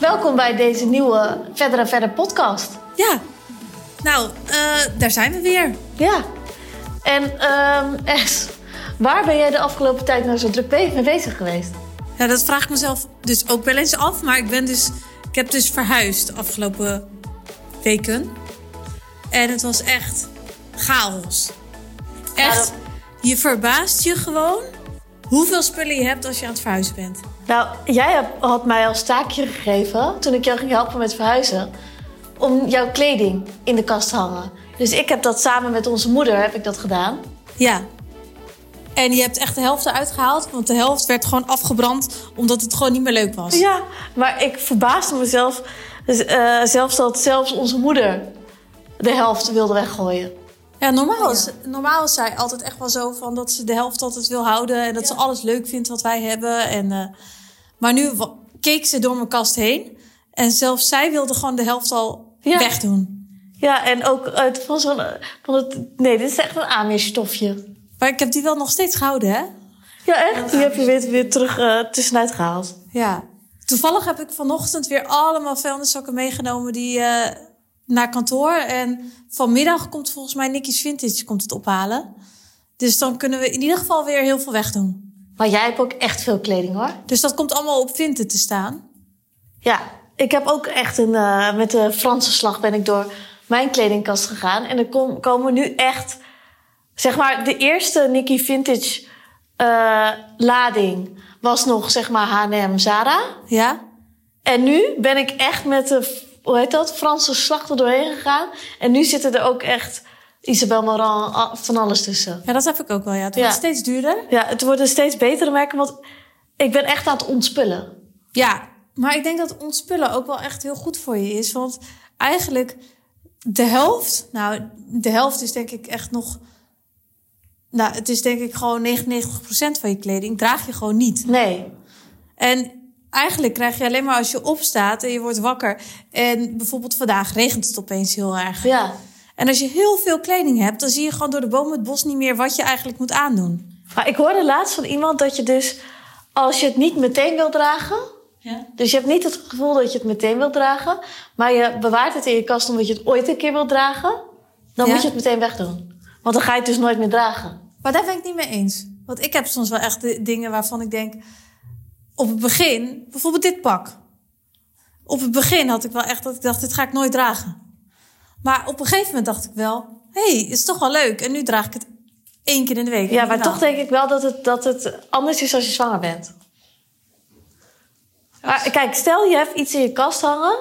welkom bij deze nieuwe Verder en Verder podcast. Ja. Nou, eh, daar zijn we weer. Ja. En ehm Es, waar ben jij de afgelopen tijd nou zo druk be- mee bezig geweest? Ja, dat vraag ik mezelf dus ook wel eens af. Maar ik ben dus... Ik heb dus verhuisd de afgelopen weken. En het was echt chaos. Ja, Echt. dat- Je verbaast je gewoon hoeveel spullen je hebt als je aan het verhuizen bent. Nou, jij heb- had mij als taakje gegeven toen ik jou ging helpen met verhuizen. Om jouw kleding in de kast te hangen. Dus ik heb dat samen met onze moeder heb ik dat gedaan. Ja. En je hebt echt de helft eruit gehaald. Want de helft werd gewoon afgebrand. Omdat het gewoon niet meer leuk was. Ja, maar ik verbaasde mezelf dus, eh, zelfs dat zelfs onze moeder de helft wilde weggooien. Ja, normaal is, normaal is zij altijd echt wel zo van dat ze de helft altijd wil houden en dat ze alles leuk vindt wat wij hebben. En, eh, maar nu wa- keek ze door mijn kast heen en zelfs zij wilde gewoon de helft al Ja. wegdoen. Ja, en ook uit van zo'n. eh, Van het, nee, dit is echt een Amish-stofje. Maar ik heb die wel nog steeds gehouden, hè? Ja, echt? Die heb je weer, weer terug eh, tussenuit gehaald. Ja. Toevallig heb ik vanochtend weer allemaal vuilniszakken meegenomen die eh, naar kantoor. En vanmiddag komt volgens mij Nicky's Vintage komt het ophalen. Dus dan kunnen we in ieder geval weer heel veel wegdoen. Maar jij hebt ook echt veel kleding hoor. Dus dat komt allemaal op Vinted te staan. Ja, ik heb ook echt een. eh, met de Franse slag ben ik door mijn kledingkast gegaan. En er kom, komen nu echt. Zeg maar, de eerste Nicky Vintage eh, lading was nog zeg maar HM Zara. Ja? En nu ben ik echt met de. Hoe heet dat? Franse slag er doorheen gegaan. En nu zitten er ook echt Isabel Moran al- van alles tussen. Ja, dat heb ik ook wel. Ja. Het wordt Ja. steeds duurder. Ja, het worden steeds betere merken, want ik ben echt aan het ontspullen. Ja, maar ik denk dat ontspullen ook wel echt heel goed voor je is. Want eigenlijk de helft, nou, de helft is denk ik echt nog. Nou, het is denk ik gewoon 99% van je kleding draag je gewoon niet. Nee. En eigenlijk krijg je alleen maar als je opstaat en je wordt wakker. En bijvoorbeeld vandaag regent het opeens heel erg. Ja. En als je heel veel kleding hebt, dan zie je gewoon door de bomen het bos niet meer wat je eigenlijk moet aandoen. Maar ik hoorde laatst van iemand dat je dus, als je het niet meteen wil dragen. Ja. Dus je hebt niet het gevoel dat je het meteen wil dragen. Maar je bewaart het in je kast omdat je het ooit een keer wil dragen. Dan Ja. moet je het meteen wegdoen. Want dan ga je het dus nooit meer dragen. Maar daar ben ik niet mee eens. Want ik heb soms wel echt de dingen waarvan ik denk... Op het begin, bijvoorbeeld dit pak. Op het begin had ik wel echt dat ik dacht, dit ga ik nooit dragen. Maar op een gegeven moment dacht ik wel... Hé, hey, is toch wel leuk. En nu draag ik het één keer in de week. Ja, maar Nou, toch denk ik wel dat het, dat het anders is als je zwanger bent. Maar kijk, stel je hebt iets in je kast hangen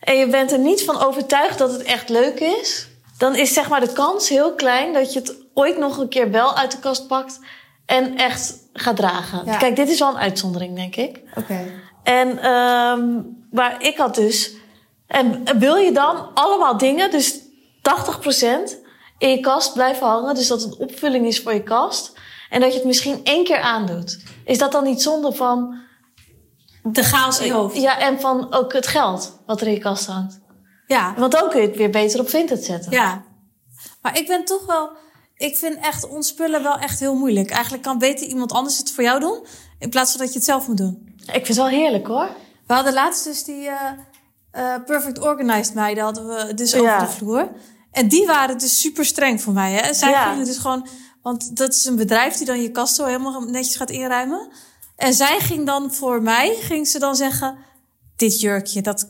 en je bent er niet van overtuigd dat het echt leuk is, dan is zeg maar de kans heel klein dat je het ooit nog een keer wel uit de kast pakt en echt gaat dragen. Ja. Kijk, dit is wel een uitzondering, denk ik. Oké. En ehm, maar ik had dus. En wil je dan allemaal dingen, dus 80% in je kast blijven hangen, dus dat het een opvulling is voor je kast. En dat je het misschien één keer aandoet. Is dat dan niet zonde van. De chaos in je hoofd. Ja, en van ook het geld wat er in je kast hangt. Ja, Want dan kun je het weer beter op Vinted zetten. ja. Maar ik ben toch wel... Ik vind echt ontspullen wel echt heel moeilijk. Eigenlijk kan beter iemand anders het voor jou doen... in plaats van dat je het zelf moet doen. Ik vind het wel heerlijk hoor. We hadden laatst dus die eh, eh, Perfect Organized meiden hadden we dus over Ja. de vloer. En die waren dus super streng voor mij. Hè? Zij Ja. gingen dus gewoon... Want dat is een bedrijf die dan je kast zo helemaal netjes gaat inruimen. En zij ging dan voor mij, ging ze dan zeggen... Dit jurkje, dat,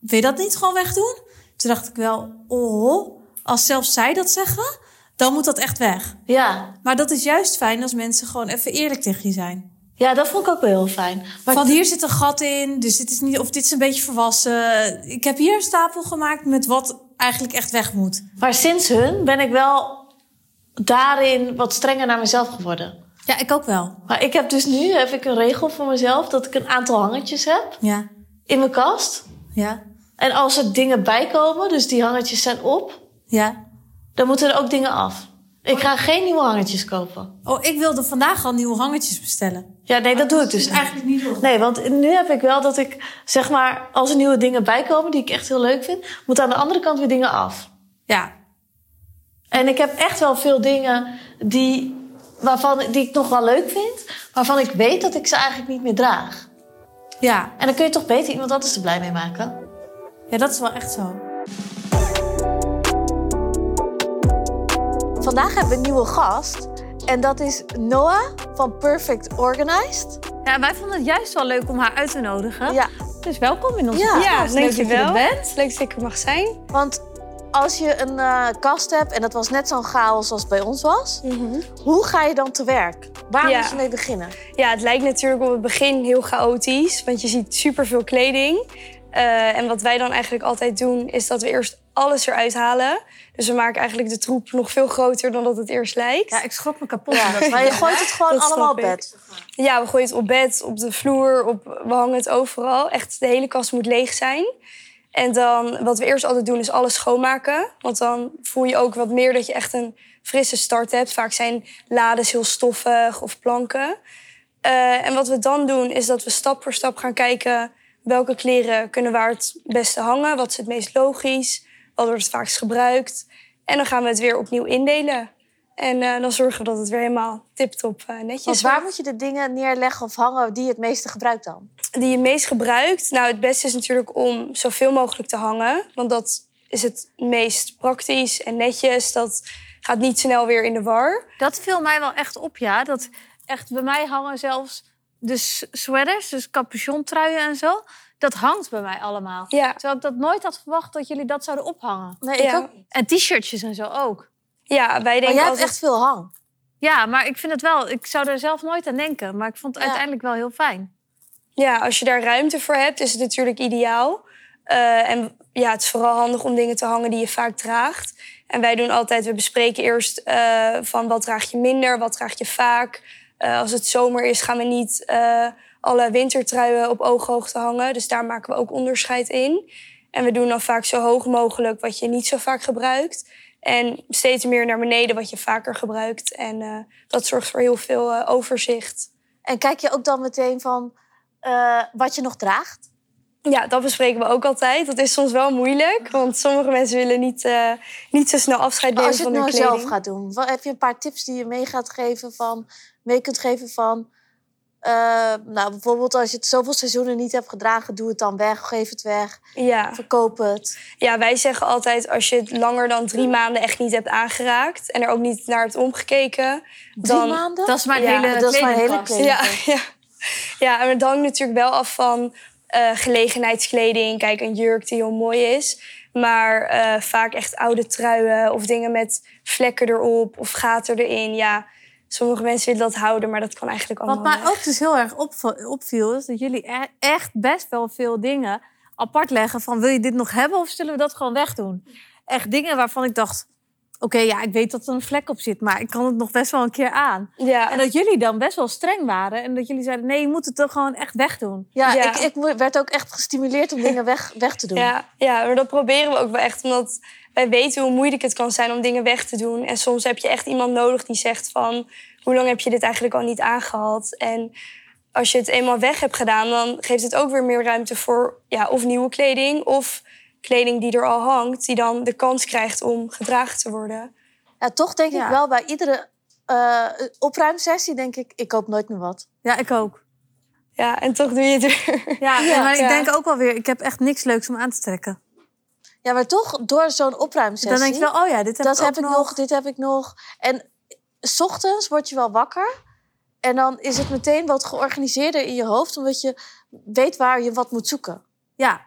wil je dat niet gewoon wegdoen? Toen dacht ik wel, oh, als zelfs zij dat zeggen, dan moet dat echt weg. Ja. Maar dat is juist fijn als mensen gewoon even eerlijk tegen je zijn. ja, dat vond ik ook wel heel fijn. Maar Van hier zit een gat in, dus dit is niet, of dit is een beetje verwassen. Ik heb hier een stapel gemaakt met wat eigenlijk echt weg moet. Maar sinds hun ben ik wel daarin wat strenger naar mezelf geworden. Ja, ik ook wel. Maar ik heb dus nu heb ik een regel voor mezelf dat ik een aantal hangertjes heb Ja, in mijn kast. ja, En als er dingen bij komen, dus die hangertjes zijn op, ja. dan moeten er ook dingen af. Ik ga geen nieuwe hangertjes kopen. Oh, ik wilde vandaag al nieuwe hangertjes bestellen. Ja, nee, dat doe Oh, ik dus niet. eigenlijk niet zo. Nee, want nu heb ik wel dat ik, zeg maar, als er nieuwe dingen bij komen die ik echt heel leuk vind, moet aan de andere kant weer dingen af. Ja, En ik heb echt wel veel dingen die, waarvan, die ik nog wel leuk vind, waarvan ik weet dat ik ze eigenlijk niet meer draag. Ja. En dan kun je toch beter iemand anders er blij mee maken. ja, dat is wel echt zo. Vandaag hebben we een nieuwe gast. En dat is Noah van Perfect Organized. Ja, wij vonden het juist wel leuk om haar uit te nodigen. Ja, Dus welkom in onze Ja, podcast. Ja, Leuk dat je dankjewel. er bent. Leuk dat ik er mag zijn. want als je een eh, kast hebt en dat was net zo'n chaos als bij ons was, hoe ga je dan te werk? Waar Ja. moet je mee beginnen? Ja, het lijkt natuurlijk op het begin heel chaotisch, want je ziet superveel kleding. Eh, en wat wij dan eigenlijk altijd doen, is dat we eerst alles eruit halen. Dus we maken eigenlijk de troep nog veel groter dan dat het eerst lijkt. Ja, Ja, ik schrok me kapot. Ja, maar je gooit het gewoon Dat snap allemaal op ik. bed. we gooien het op bed, op de vloer, op, we hangen het overal. Echt, de hele kast moet leeg zijn. En dan, wat we eerst altijd doen, is alles schoonmaken. Want dan voel je ook wat meer dat je echt een frisse start hebt. Vaak zijn lades heel stoffig of planken. Eh, en wat we dan doen, is dat we stap voor stap gaan kijken... welke kleren kunnen waar het beste hangen. Wat is het meest logisch? Wat wordt het vaakst gebruikt? En dan gaan we het weer opnieuw indelen. En eh, dan zorgen we dat het weer helemaal tip-top eh, Dus netjes waar moet je de dingen neerleggen of hangen die je het meeste gebruikt dan? die je meest gebruikt? Nou, het beste is natuurlijk om zoveel mogelijk te hangen. Want dat is het meest praktisch en netjes. Dat gaat niet snel weer in de war. Dat viel mij wel echt op, ja. Dat echt bij mij hangen zelfs de s- sweaters, dus capuchontruien en zo. Dat hangt bij mij allemaal. Ja, Terwijl ik dat nooit had verwacht dat jullie dat zouden ophangen. Nee, ik Ja. ook. En t-shirtjes en zo ook. ja wij Maar denken jij hebt altijd... echt veel hang. Ja, maar ik vind het wel... Ik zou er zelf nooit aan denken. Maar ik vond het Ja. uiteindelijk wel heel fijn. Ja, als je daar ruimte voor hebt, is het natuurlijk ideaal. Eh, en ja, het is vooral handig om dingen te hangen die je vaak draagt. En wij doen altijd, we bespreken eerst eh, van wat draag je minder, wat draag je vaak. Eh, als het zomer is, gaan we niet eh, alle wintertruien op ooghoogte hangen. Dus daar maken we ook onderscheid in. En we doen dan vaak zo hoog mogelijk wat je niet zo vaak gebruikt. En steeds meer naar beneden wat je vaker gebruikt. En eh, dat zorgt voor heel veel eh, overzicht. En kijk je ook dan meteen van eh, wat je nog draagt? Ja, dat bespreken we ook altijd. Dat is soms wel moeilijk, want sommige mensen willen niet, eh, niet zo snel afscheid Maar nemen als je het van nou hun kleding. zelf gaat doen, wat, heb je een paar tips die je mee gaat geven van, mee kunt geven van, eh, nou bijvoorbeeld als je het zoveel seizoenen niet hebt gedragen, doe het dan weg, geef het weg, Ja. verkoop het. ja, wij zeggen altijd als je het langer dan drie maanden echt niet hebt aangeraakt en er ook niet naar hebt omgekeken, Drie dan maanden? Dat is mijn Ja, hele dat is mijn hele kledingkast. kleding. Ja, ja. ja, en het hangt natuurlijk wel af van eh, gelegenheidskleding. Kijk, een jurk die heel mooi is. Maar eh, vaak echt oude truien of dingen met vlekken erop of gaten erin. Ja, sommige mensen willen dat houden, maar dat kan eigenlijk allemaal Wat mij weg. ook dus heel erg opv- opviel, is dat jullie e- echt best wel veel dingen apart leggen van wil je dit nog hebben of zullen we dat gewoon wegdoen? Echt dingen waarvan ik dacht, oké, ja, ik weet dat er een vlek op zit, maar ik kan het nog best wel een keer aan. Ja. En dat jullie dan best wel streng waren en dat jullie zeiden, nee, je moet het dan gewoon echt wegdoen. Ja, Ja. Ik, ik mo- werd ook echt gestimuleerd om dingen weg, weg te doen. Ja, ja, maar dat proberen we ook wel echt. Omdat wij weten hoe moeilijk het kan zijn om dingen weg te doen. En soms heb je echt iemand nodig die zegt van... hoe lang heb je dit eigenlijk al niet aangehad? En als je het eenmaal weg hebt gedaan... dan geeft het ook weer meer ruimte voor ja, of nieuwe kleding... of kleding die er al hangt... die dan de kans krijgt om gedragen te worden. Ja, toch denk Ja. ik wel bij iedere eh, opruimsessie denk ik, ik koop nooit meer wat. Ja, ik ook. Ja, en toch doe je het weer. Ja, Ja. maar ik Ja. denk ook wel weer, ik heb echt niks leuks om aan te trekken. Ja, maar toch door zo'n opruimsessie. Dan denk je wel, oh ja, dit heb dat ik ook heb ik nog. dit heb ik nog. En 's ochtends word je wel wakker. En dan is het meteen wat georganiseerder in je hoofd, omdat je weet waar je wat moet zoeken. Ja,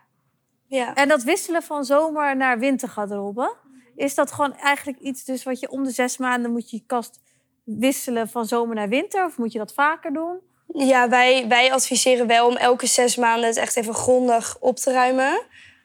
Ja. En dat wisselen van zomer naar wintergarderobe, is dat gewoon eigenlijk iets dus wat je om de zes maanden moet je je kast wisselen van zomer naar winter? Of moet je dat vaker doen? Ja, wij, wij adviseren wel om elke zes maanden het echt even grondig op te ruimen.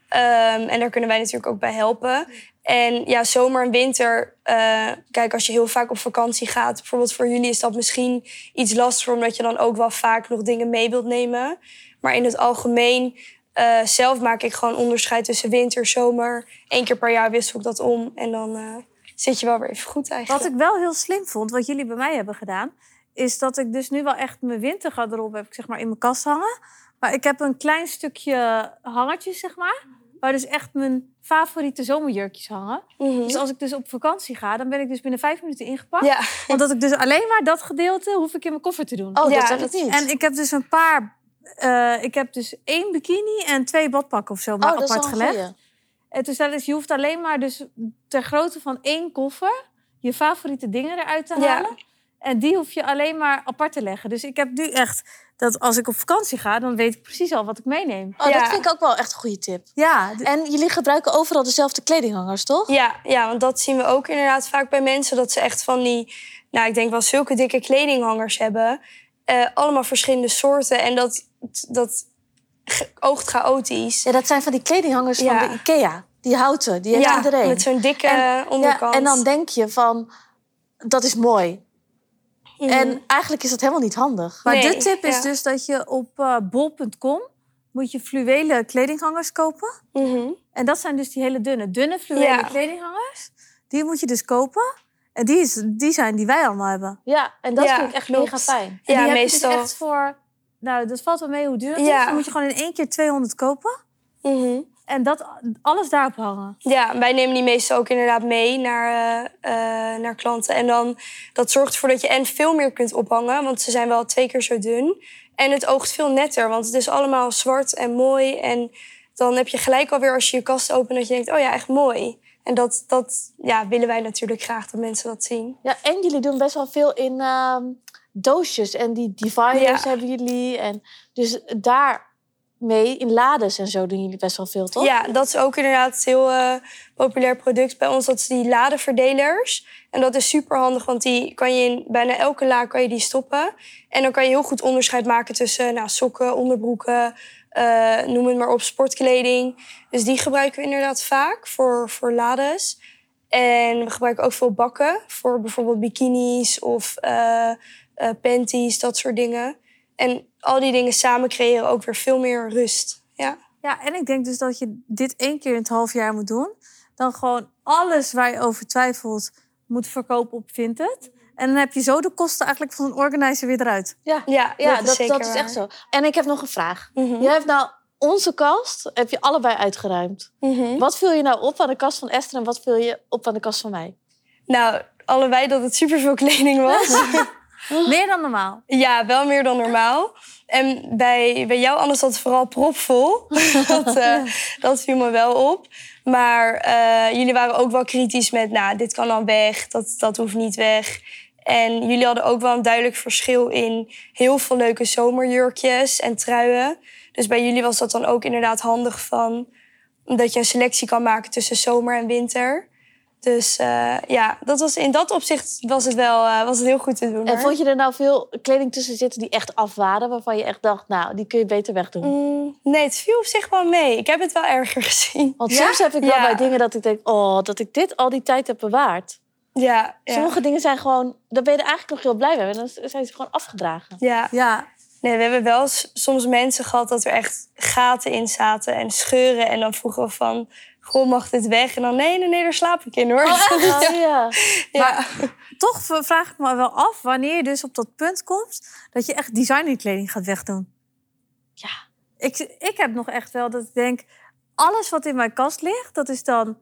Ehm, en daar kunnen wij natuurlijk ook bij helpen. En ja, zomer en winter. eh, kijk, als je heel vaak op vakantie gaat, bijvoorbeeld voor jullie is dat misschien iets lastiger, omdat je dan ook wel vaak nog dingen mee wilt nemen. Maar in het algemeen, eh, zelf maak ik gewoon onderscheid tussen winter, zomer. Eén keer per jaar wissel ik dat om. En dan eh, zit je wel weer even goed eigenlijk. Wat ik wel heel slim vond, wat jullie bij mij hebben gedaan, is dat ik dus nu wel echt mijn wintergarderobe heb ik zeg maar in mijn kast hangen. Maar ik heb een klein stukje hangertjes, zeg maar, waar dus echt mijn favoriete zomerjurkjes hangen. Mhm. Dus als ik dus op vakantie ga, dan ben ik dus binnen vijf minuten ingepakt. Ja, Omdat ik dus alleen maar dat gedeelte hoef ik in mijn koffer te doen. Oh, Ja, dat heb dat- ik niet. En ik heb dus een paar eh, ik heb dus één bikini en twee badpakken of zo maar Oh, dat is apart wel een gelegd. goeie. En toen zei ze, je hoeft alleen maar dus ter grootte van één koffer je favoriete dingen eruit te Ja. halen. En die hoef je alleen maar apart te leggen. Dus ik heb nu echt dat als ik op vakantie ga, dan weet ik precies al wat ik meeneem. Oh, dat Ja. vind ik ook wel echt een goede tip. Ja, d- En jullie gebruiken overal dezelfde kledinghangers, toch? Ja, ja, want dat zien we ook inderdaad vaak bij mensen. Dat ze echt van die, nou ik denk wel zulke dikke kledinghangers hebben. Eh, allemaal verschillende soorten. En dat, dat ge- oogt chaotisch. Ja, dat zijn van die kledinghangers Ja. van de Ikea. Die houten, die heeft ja, iedereen. met zo'n dikke En- onderkant. Ja, en dan denk je van, dat is mooi. Mhm. En eigenlijk is dat helemaal niet handig. maar Nee, de tip is ja. dus dat je op eh, bol.com moet je fluwelen kledinghangers kopen. Mhm. En dat zijn dus die hele dunne, dunne fluwelen Ja. kledinghangers. Die moet je dus kopen. En die, is, die zijn die wij allemaal hebben. Ja, en dat Ja, vind ik echt klopt. mega fijn. En die Ja, heb je dus meestal. echt voor... Nou, dat valt wel mee hoe duur het Ja. is. Dan moet je gewoon in één keer 200 kopen. Mhm. En dat, alles daarop hangen. Ja, wij nemen die meestal ook inderdaad mee naar, eh, eh, naar klanten. En dan, dat zorgt ervoor dat je en veel meer kunt ophangen, want ze zijn wel twee keer zo dun. En het oogt veel netter, want het is allemaal zwart en mooi. En dan heb je gelijk alweer als je je kast opent dat je denkt, oh ja, echt mooi. En dat, dat ja, willen wij natuurlijk graag, dat mensen dat zien. Ja, en jullie doen best wel veel in ehm, doosjes. En die dividers Ja. hebben jullie. En dus daarmee, in lades en zo, doen jullie best wel veel, toch? Ja, dat is ook inderdaad een heel eh, populair product bij ons. Dat is die ladeverdelers. En dat is super handig, want die kan je in bijna elke la kan je die stoppen. En dan kan je heel goed onderscheid maken tussen nou, sokken, onderbroeken, eh, noem het maar op, sportkleding. Dus die gebruiken we inderdaad vaak voor, voor lades. En we gebruiken ook veel bakken voor bijvoorbeeld bikinis of eh, eh, panties, dat soort dingen. En al die dingen samen creëren ook weer veel meer rust. Ja. Ja, en ik denk dus dat je dit één keer in het half jaar moet doen. Dan gewoon alles waar je over twijfelt moet verkopen op Vinted. En dan heb je zo de kosten eigenlijk van een organizer weer eruit. ja. Ja, Ja, dat, is zeker waar. echt zo. En ik heb nog een vraag. Mhm. Jij hebt nou onze kast, heb je allebei uitgeruimd. Mhm. Wat viel je nou op aan de kast van Esther en wat viel je op aan de kast van mij? Nou, allebei dat het superveel kleding was. Meer dan normaal. ja, wel meer dan normaal. En bij, bij jou, anders dat vooral propvol. dat, eh, dat viel me wel op. Maar eh, jullie waren ook wel kritisch met, nou, dit kan dan weg, dat, dat hoeft niet weg. En jullie hadden ook wel een duidelijk verschil in heel veel leuke zomerjurkjes en truien. Dus bij jullie was dat dan ook inderdaad handig van dat je een selectie kan maken tussen zomer en winter. Dus eh, ja, dat was, in dat opzicht was het wel eh, was het heel goed te doen. En hoor. vond je er nou veel kleding tussen zitten die echt af waren, waarvan je echt dacht, nou, die kun je beter wegdoen? Mm, nee, het viel op zich wel mee. Ik heb het wel erger gezien. Want soms heb ik wel Ja. bij dingen dat ik denk, oh, dat ik dit al die tijd heb bewaard. Ja, ja. Sommige dingen zijn gewoon, daar ben je er eigenlijk nog heel blij mee. En dan zijn ze gewoon afgedragen. ja. Ja, Nee, we hebben wel s- soms mensen gehad dat er echt gaten in zaten en scheuren. En dan vroegen we van, goh, mag dit weg? En dan, nee, nee, nee, daar slaap ik in hoor. Oh, ja. ja. toch v- vraag ik me wel af wanneer je dus op dat punt komt dat je echt designerkleding gaat wegdoen. Ja. Ik, ik heb nog echt wel dat ik denk, alles wat in mijn kast ligt, dat is dan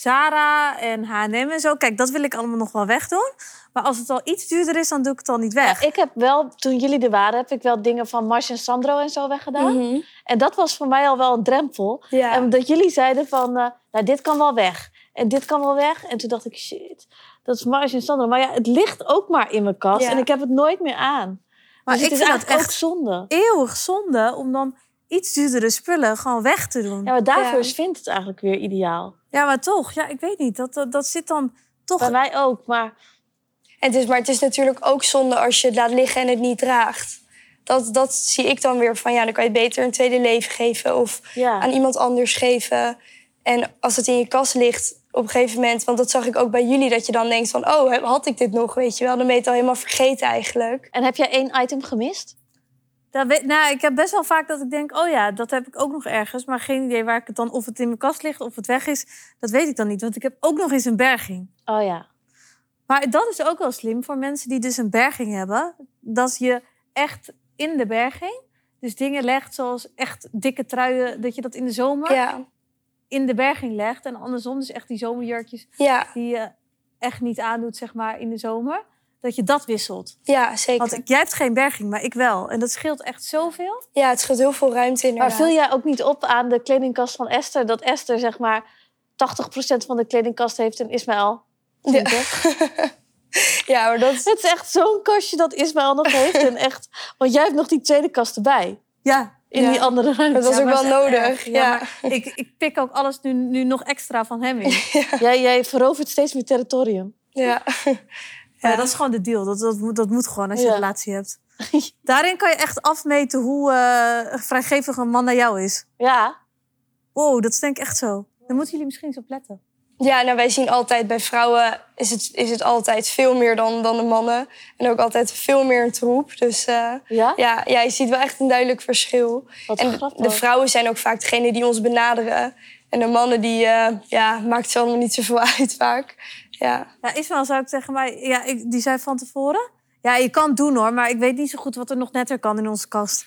Zara en H&M en zo. Kijk, dat wil ik allemaal nog wel wegdoen. Maar als het al iets duurder is, dan doe ik het al niet weg. Ik heb wel, toen jullie er waren, heb ik wel dingen van Mars en Sandro en zo weggedaan. Mhm. En dat was voor mij al wel een drempel. ja. En dat jullie zeiden van, eh, nou, dit kan wel weg. En dit kan wel weg. En toen dacht ik, shit, dat is Mars en Sandro. Maar ja, het ligt ook maar in mijn kast. Ja. En ik heb het nooit meer aan. maar dus ik het is vind dat eigenlijk echt ook zonde. eeuwig zonde om dan iets duurdere spullen gewoon weg te doen. Ja, Ja, maar daarvoor Ja. is vindt het eigenlijk weer ideaal. maar toch. Ja, ik weet niet. Dat, dat, dat zit dan toch... Bij mij ook, maar En het is, maar het is natuurlijk ook zonde als je het laat liggen en het niet draagt. Dat, dat zie ik dan weer van, ja, dan kan je het beter een tweede leven geven. Of ja. aan iemand anders geven. En als het in je kast ligt op een gegeven moment, want dat zag ik ook bij jullie, dat je dan denkt van, oh, heb- had ik dit nog, weet je wel? Dan ben je het al helemaal vergeten eigenlijk. En heb jij één item gemist? Dat weet, nou, ik heb best wel vaak dat ik denk, oh ja, dat heb ik ook nog ergens. Maar geen idee waar ik het dan, of het in mijn kast ligt, of het weg is. Dat weet ik dan niet, want ik heb ook nog eens een berging. Oh ja. Maar dat is ook wel slim voor mensen die dus een berging hebben. Dat je echt in de berging, dus dingen legt zoals echt dikke truien, dat je dat in de zomer Ja, in de berging legt. En andersom, dus echt die zomerjurkjes ja, die je echt niet aandoet, zeg maar, in de zomer. dat je dat wisselt. Ja, zeker. Want ik- jij hebt geen berging, maar ik wel. En dat scheelt echt zoveel. Ja, het scheelt heel veel ruimte Maar inderdaad. viel jij ook niet op aan de kledingkast van Esther? Dat Esther zeg maar 80% van de kledingkast heeft en Ismaël. Ja. ja, maar dat Het is echt zo'n kastje dat Ismaël nog heeft. En echt, want jij hebt nog die tweede kast erbij. Ja, In Ja. die andere ruimte. Dat was Ja, ook maar wel het is echt nodig. erg. Ja, Ja, maar ik, ik pik ook alles nu, nu nog extra van hem in. Jij, jij verovert steeds meer territorium. ja. Ja, dat is gewoon de deal. Dat, dat, moet, dat moet gewoon als je Ja. een relatie hebt. Daarin kan je echt afmeten hoe eh, vrijgevig een man naar jou is. Ja, Wow, dat is denk ik echt zo. Daar moeten jullie misschien eens op letten. ja, nou wij zien altijd bij vrouwen is het, is het altijd veel meer dan, dan de mannen. En ook altijd veel meer een troep. Dus eh, ja? ja, ja, je ziet wel echt een duidelijk verschil. Wat En grappig. de vrouwen zijn ook vaak degene die ons benaderen. En de mannen die eh, ja, maakt het allemaal niet zoveel uit vaak. Ja. Ja, Ismael zou ik tegen mij... Ja, ik, die zei van tevoren... Ja, je kan het doen hoor, maar ik weet niet zo goed wat er nog netter kan in onze kast.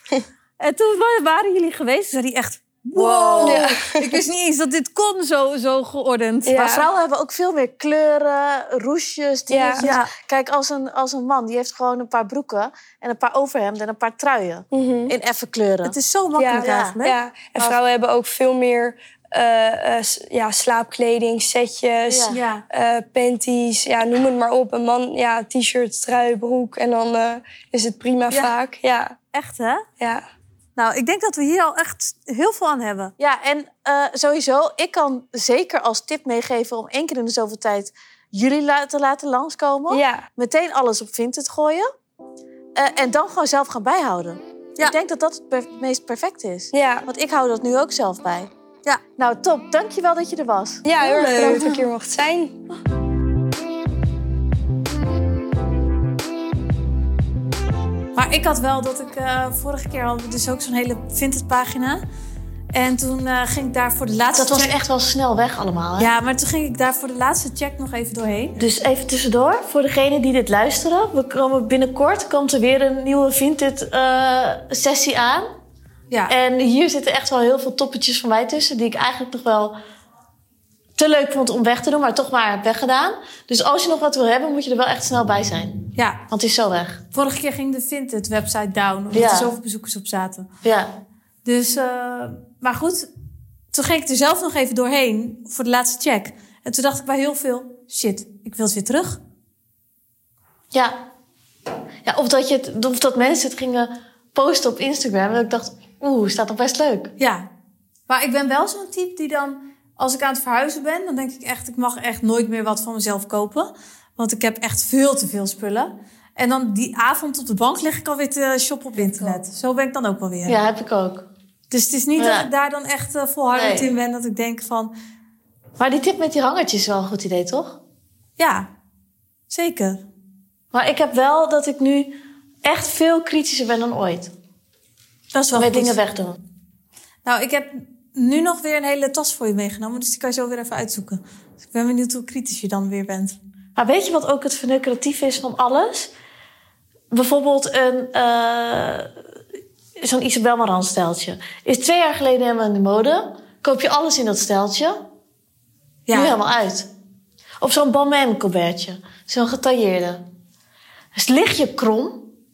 en toen wa- waren jullie geweest, zei hij echt... Wow, Ja. ik wist niet eens dat dit kon zo, zo geordend. Ja. Maar vrouwen hebben ook veel meer kleuren, roesjes, dingetjes. Ja. Kijk, als een, als een man, die heeft gewoon een paar broeken... en een paar overhemden en een paar truien. In effen kleuren. Het is zo makkelijk Ja, eigenlijk. Ja, en vrouwen hebben ook veel meer eh, eh, s- ja, slaapkleding, setjes, Ja. Ja. eh, panties, ja, noem het maar op. Een man, ja, t-shirt, trui, broek en dan eh, is het prima Ja. vaak. Ja, echt hè? ja. Nou, ik denk dat we hier al echt heel veel aan hebben. Ja, en eh, sowieso, ik kan zeker als tip meegeven om één keer in de zoveel tijd jullie la- te laten langskomen. ja. Meteen alles op Vinted gooien. Eh, en dan gewoon zelf gaan bijhouden. Ja. Ik denk dat dat het per- meest perfect is. Ja, Want ik hou dat nu ook zelf bij. Ja. Nou, top. Dankjewel dat je er was. ja heel erg bedankt dat ik hier mocht zijn. Maar ik had wel dat ik eh, vorige keer hadden we dus ook zo'n hele vintage pagina. En toen eh, ging ik daar voor de laatste Dat was check... echt wel snel weg allemaal. Hè? Ja, maar toen ging ik daar voor de laatste check nog even doorheen. Dus even tussendoor, voor degenen die dit luisteren. We komen binnenkort komt er weer een nieuwe Vinted eh, sessie aan. Ja. En hier zitten echt wel heel veel toppetjes van mij tussen... die ik eigenlijk nog wel te leuk vond om weg te doen... maar toch maar heb weggedaan. Dus als je nog wat wil hebben, moet je er wel echt snel bij zijn. ja, Want het is zo weg. vorige keer ging de Vinted website down. Omdat Ja. er zoveel bezoekers op zaten. Ja, Dus, eh, maar goed. Toen ging ik er zelf nog even doorheen voor de laatste check. En toen dacht ik bij heel veel... Shit, ik wil het weer terug. ja. ja of, dat je het, of dat mensen het gingen posten op Instagram... en ik dacht, oeh, staat nog best leuk. Ja. Maar ik ben wel zo'n type die dan, als ik aan het verhuizen ben, dan denk ik echt, ik mag echt nooit meer wat van mezelf kopen. Want ik heb echt veel te veel spullen. En dan die avond op de bank lig ik alweer te shoppen op internet. Zo ben ik dan ook wel weer. Ja, heb ik ook. Dus het is niet Ja. dat ik daar dan echt eh, volhardend Nee. in ben. Dat ik denk van, Maar die tip met die hangertjes is wel een goed idee, toch? ja, zeker. Maar ik heb wel dat ik nu echt veel kritischer ben dan ooit. Dat is wel met goed. dingen wegdoen. Nou, ik heb nu nog weer een hele tas voor je meegenomen. Dus die kan je zo weer even uitzoeken. Dus ik ben benieuwd hoe kritisch je dan weer bent. Maar Nou, weet je wat ook het verneukeratief is van alles? Bijvoorbeeld een, eh, zo'n Isabel Marant stijltje. Is twee jaar geleden helemaal in de mode. Koop je alles in dat stijltje. Nu helemaal uit. Of zo'n Balmain colbertje. Zo'n getailleerde. Dus lig je krom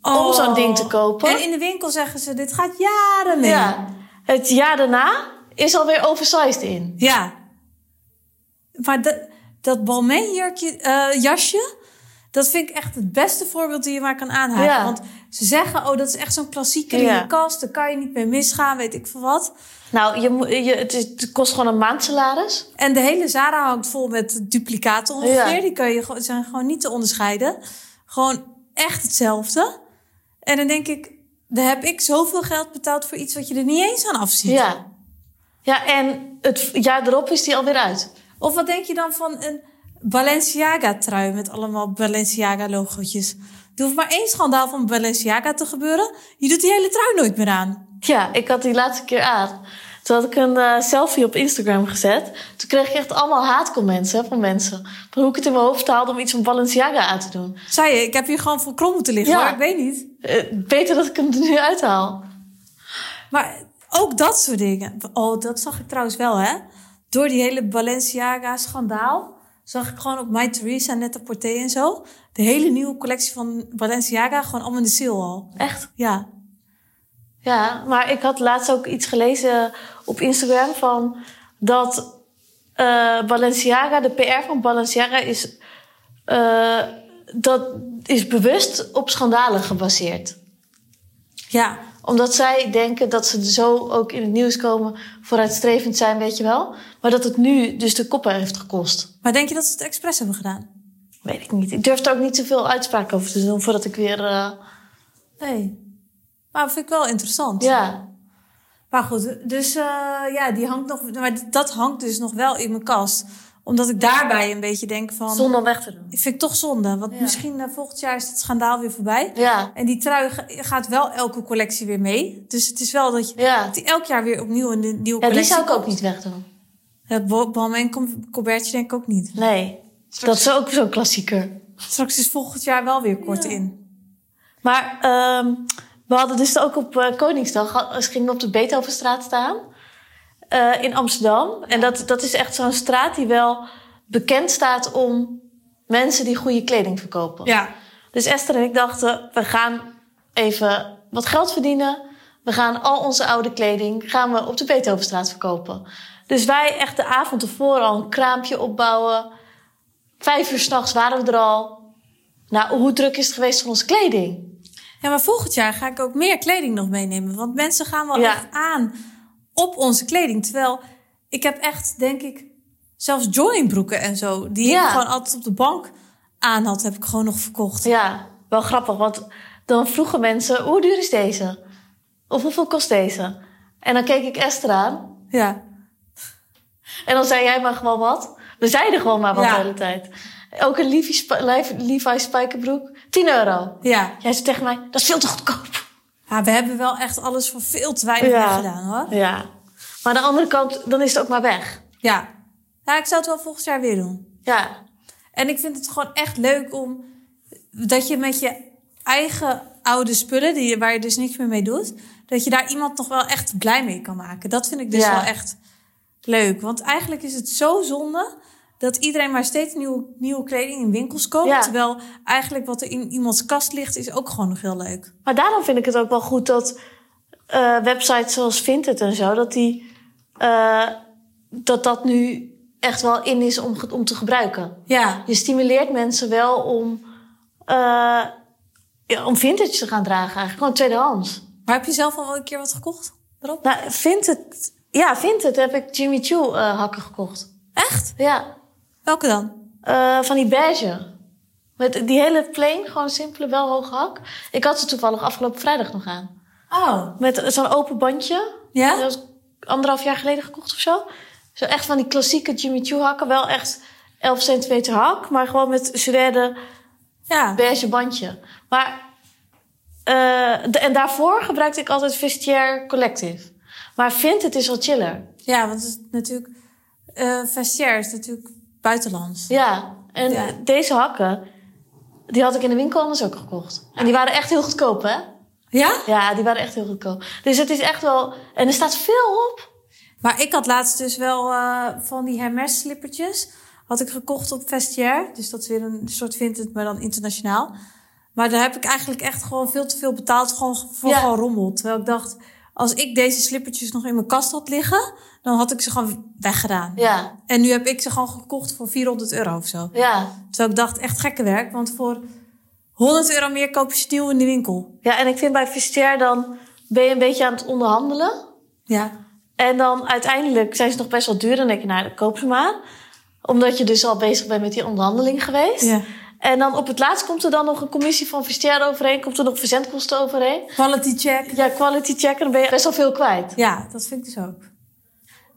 om Oh. zo'n ding te kopen. En in de winkel zeggen ze, dit gaat jaren mee. ja. Het jaar daarna is alweer oversized in. Ja. Maar dat, dat Balmain jurkje, eh, jasje, dat vind ik echt het beste voorbeeld die je maar kan aanhaken. Ja. Want ze zeggen, oh, dat is echt zo'n klassieker in Ja. de kast. Daar kan je niet mee misgaan, weet ik veel wat. Nou, je, moet- je, het, is- het kost gewoon een maandsalaris. En de hele Zara hangt vol met duplicaten ongeveer. Ja. Die kan je, gewoon- zijn gewoon niet te onderscheiden. Gewoon echt hetzelfde. En dan denk ik, daar heb ik zoveel geld betaald voor iets wat je er niet eens aan afziet. Ja. Ja, en het jaar erop is die alweer uit. Of wat denk je dan van een Balenciaga-trui met allemaal Balenciaga-logootjes? Er hoeft maar één schandaal van Balenciaga te gebeuren. Je doet die hele trui nooit meer aan. Ja, ik had die laatste keer aan. Toen had ik een eh, selfie op Instagram gezet. Toen kreeg ik echt allemaal haatcomments hè, van mensen. Van hoe ik het in mijn hoofd haalde om iets van Balenciaga aan te doen. Zei je, ik heb hier gewoon voor krom moeten liggen, Ja. hoor. Ik weet niet. Eh, beter dat ik hem er nu uithaal. Maar ook dat soort dingen. Oh, dat zag ik trouwens wel, hè? Door die hele Balenciaga-schandaal zag ik gewoon op My Theresa, Netta Porté en zo... de hele nieuwe collectie van Balenciaga gewoon allemaal in de sale al. Echt? Ja, Ja, maar ik had laatst ook iets gelezen op Instagram van dat eh, Balenciaga, de PR van Balenciaga is, eh, dat is bewust op schandalen gebaseerd. ja, Omdat zij denken dat ze zo ook in het nieuws komen, vooruitstrevend zijn, weet je wel. Maar dat het nu dus de koppen heeft gekost. maar denk je dat ze het expres hebben gedaan? Weet ik niet. Ik durf er ook niet zoveel uitspraak over te doen voordat ik weer. eh, Nee. Maar vind ik wel interessant. ja. Maar goed, dus eh, ja, die hangt nog, maar dat hangt dus nog wel in mijn kast. Omdat ik daarbij een beetje denk van... Zonder weg te doen. Ik vind het toch zonde, want Ja. misschien eh, volgend jaar is het schandaal weer voorbij. Ja. En die trui ga- gaat wel elke collectie weer mee. Dus het is wel dat je Ja. dat die elk jaar weer opnieuw een nieuwe ja, die collectie... zou ik ook niet wegdoen. Het Bo- Balmain en Com- Colbertje denk ik ook niet. Nee. Dat is ook zo'n klassieker. Straks is volgend jaar wel weer kort in. Maar ehm, we hadden dus ook op eh, Koningsdag, ha- ze gingen op de Beethovenstraat staan eh, in Amsterdam. En dat, dat is echt zo'n straat die wel bekend staat om mensen die goede kleding verkopen. Ja. Dus Esther en ik dachten, we gaan even wat geld verdienen. We gaan al onze oude kleding gaan we op de Beethovenstraat verkopen. Dus wij echt de avond ervoor al een kraampje opbouwen. Vijf uur s'nachts waren we er al. Nou, hoe druk is het geweest voor onze kleding? Ja, maar volgend jaar ga ik ook meer kleding nog meenemen. Want mensen gaan wel Ja. echt aan op onze kleding. Terwijl ik heb echt, denk ik, zelfs joggingbroeken en zo... die Ja. ik gewoon altijd op de bank aan had, heb ik gewoon nog verkocht. Ja, wel grappig, want dan vroegen mensen: hoe duur is deze? Of hoeveel kost deze? En dan keek ik Esther aan Ja. en dan zei jij maar gewoon wat. We zeiden gewoon maar wat Ja. de hele tijd. Ook een Levi, sp- Levi- Levi's spijkerbroek, 10 euro. Ja. Jij zei tegen mij: dat is veel te goedkoop. ja, we hebben wel echt alles voor veel te weinig Ja. gedaan, hoor. Ja. Maar aan de andere kant, dan is het ook maar weg. Ja. ja, ik zou het wel volgend jaar weer doen. Ja, En ik vind het gewoon echt leuk om... dat je met je eigen oude spullen, die, je- waar je dus niks meer mee doet... dat je daar iemand nog wel echt blij mee kan maken. Dat vind ik dus Ja. wel echt leuk. Want eigenlijk is het zo zonde dat iedereen maar steeds nieuwe, nieuwe kleding in winkels koopt... Ja. terwijl eigenlijk wat er in iemands kast ligt, is ook gewoon nog heel leuk. Maar daarom vind ik het ook wel goed dat eh, websites zoals Vinted en zo, dat die, eh, dat, dat nu echt wel in is om, ge- om te gebruiken. Ja, Je stimuleert mensen wel om, eh, ja, om vintage te gaan dragen eigenlijk, gewoon tweedehands. maar heb je zelf al wel een keer wat gekocht erop? Nou, Vinted, ja, Vinted heb ik Jimmy Choo eh, hakken gekocht. Echt? Ja, Welke dan? Eh, van die beige. Met die hele plain, gewoon simpele, wel hoge hak. Ik had ze toevallig afgelopen vrijdag nog aan. Oh. Met zo'n open bandje. Ja? Dat was anderhalf jaar geleden gekocht of zo. Zo echt van die klassieke Jimmy Choo hakken. Wel echt 11 centimeter hak, maar gewoon met suède Ja. beige bandje. Maar, eh, de- en daarvoor gebruikte ik altijd Vestiaire Collective. Maar vindt het is wel chiller. Ja, want het is natuurlijk... eh vestiaire is natuurlijk buitenlands. Ja, en Ja. deze hakken, die had ik in de winkel anders ook gekocht. En die waren echt heel goedkoop, hè? Ja? Ja, die waren echt heel goedkoop. Dus het is echt wel... En er staat veel op. Maar ik had laatst dus wel eh, van die Hermes slippertjes. Had ik gekocht op Vestiaire. Dus dat is weer een soort vintage, maar dan internationaal. Maar daar heb ik eigenlijk echt gewoon veel te veel betaald. Gewoon voor Ja. gewoon rommel. Terwijl ik dacht, als ik deze slippertjes nog in mijn kast had liggen... dan had ik ze gewoon weggedaan. Ja, En nu heb ik ze gewoon gekocht voor 400 euro of zo. ja. Terwijl ik dacht, echt gekke werk. Want voor 100 euro meer koop je ze nieuw in de winkel. Ja, en ik vind bij Vestiaire dan ben je een beetje aan het onderhandelen. Ja. En dan uiteindelijk zijn ze nog best wel duur. Dan denk je, nou, dan koop ze maar. Omdat je dus al bezig bent met die onderhandeling geweest. ja. En dan op het laatst komt er dan nog een commissie van Vestiaire overheen. Komt er nog verzendkosten overheen. Quality check. Ja, quality check, en dan ben je best wel veel kwijt. Ja, dat vind ik dus ook.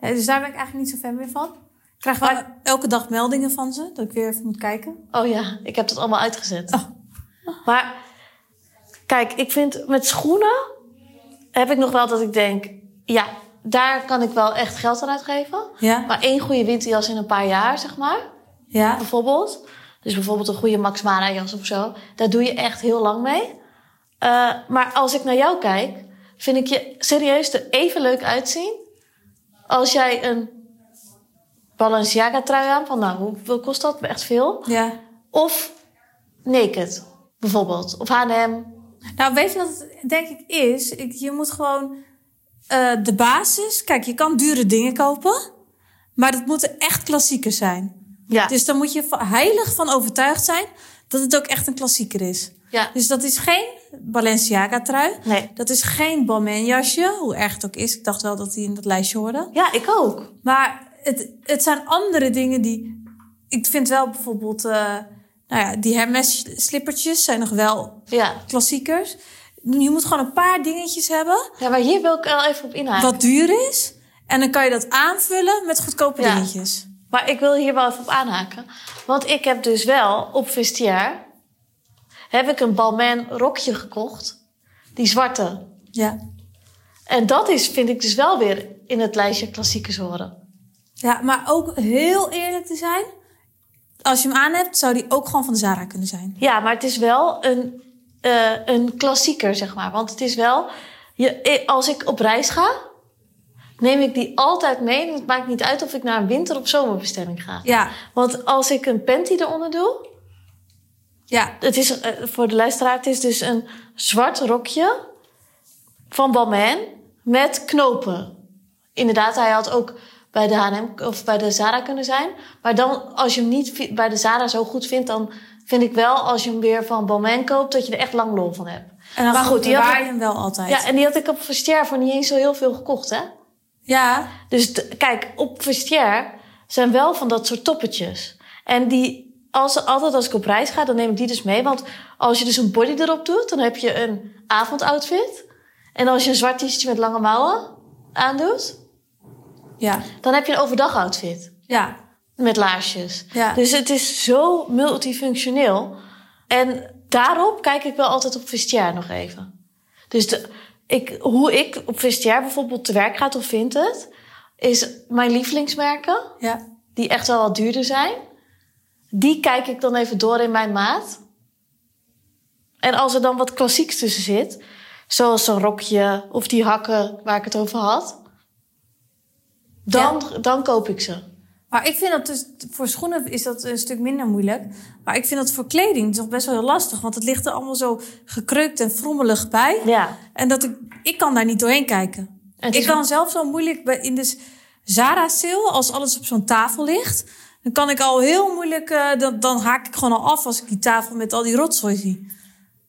Ja, dus daar ben ik eigenlijk niet zo fan meer van. Ik krijg wel Maar- elke dag meldingen van ze, dat ik weer even moet kijken. Oh ja, ik heb dat allemaal uitgezet. Oh. Maar kijk, ik vind met schoenen heb ik nog wel dat ik denk... Ja, daar kan ik wel echt geld aan uitgeven. Ja, Maar één goede winterjas in een paar jaar, zeg maar. ja, bijvoorbeeld. Dus bijvoorbeeld een goede Max Mara jas of zo. Daar doe je echt heel lang mee. Eh, maar als ik naar jou kijk, vind ik je serieus er even leuk uitzien. Als jij een Balenciaga trui aan. Van nou, hoeveel kost dat? Echt veel. Ja. Of naked, bijvoorbeeld. Of H&M. Nou, weet je wat het denk ik is? Ik, je moet gewoon eh, de basis... Kijk, je kan dure dingen kopen. Maar dat moeten echt klassiekers zijn. Ja. Dus dan moet je va- heilig van overtuigd zijn... dat het ook echt een klassieker is. ja. Dus dat is geen Balenciaga-trui. Nee. Dat is geen Balmain-jasje, hoe erg het ook is. Ik dacht wel dat die in dat lijstje hoorde. Ja, ik ook. Maar het, het zijn andere dingen die... Ik vind wel bijvoorbeeld... eh, nou ja, die Hermes-slippertjes zijn nog wel Ja. klassiekers. Je moet gewoon een paar dingetjes hebben ja, maar hier wil ik wel even op inhaken. wat duur is. En dan kan je dat aanvullen met goedkope Ja. dingetjes. Maar ik wil hier wel even op aanhaken. Want ik heb dus wel op vestiaar... heb ik een Balmain rokje gekocht. Die zwarte. Ja. En dat is, vind ik dus wel weer in het lijstje klassiekers horen. ja, maar ook heel eerlijk te zijn. Als je hem aan hebt, zou die ook gewoon van de Zara kunnen zijn. Ja, maar het is wel een, eh, een klassieker, zeg maar. Want het is wel... Je, eh, als ik op reis ga, neem ik die altijd mee. En het maakt niet uit of ik naar een winter- of zomerbestemming ga. Ja, Want als ik een panty eronder doe... ja, Het is, eh, voor de luisteraar, het is dus een zwart rokje van Balmain met knopen. Inderdaad, hij had ook bij de H&M of bij de Zara kunnen zijn. Maar dan, als je hem niet vi- bij de Zara zo goed vindt, dan vind ik wel, als je hem weer van Balmain koopt, dat je er echt lang lol van hebt. En dan Maar goed, die had- bewaar je hem wel altijd. Ja, en die had ik op Vestiaire voor niet eens zo heel veel gekocht, hè? ja. Dus t- kijk, op vestiaire zijn wel van dat soort toppetjes. En die, als, altijd als ik op reis ga, dan neem ik die dus mee. Want als je dus een body erop doet, dan heb je een avondoutfit. En als je een zwart t-shirtje met lange mouwen aandoet, Ja, dan heb je een overdag outfit. ja, Met laarsjes. Ja. Dus het is zo multifunctioneel. En daarop kijk ik wel altijd op vestiaire nog even. Dus de, ik, hoe ik op vestiaire bijvoorbeeld te werk gaat of vind het... is mijn lievelingsmerken, ja. die echt wel wat duurder zijn... die kijk ik dan even door in mijn maat. En als er dan wat klassieks tussen zit... zoals zo'n rokje of die hakken waar ik het over had... dan, dan koop ik ze. Maar ik vind dat dus, voor schoenen is dat een stuk minder moeilijk. Maar ik vind dat voor kleding toch best wel heel lastig. Want het ligt er allemaal zo gekreukt en frommelig bij. Ja. En dat ik, ik kan daar niet doorheen kijken. En het Ik is- kan zelf zo moeilijk bij, in de Zara-sale, als alles op zo'n tafel ligt. Dan kan ik al heel moeilijk, eh, dan, dan haak ik gewoon al af als ik die tafel met al die rotzooi zie.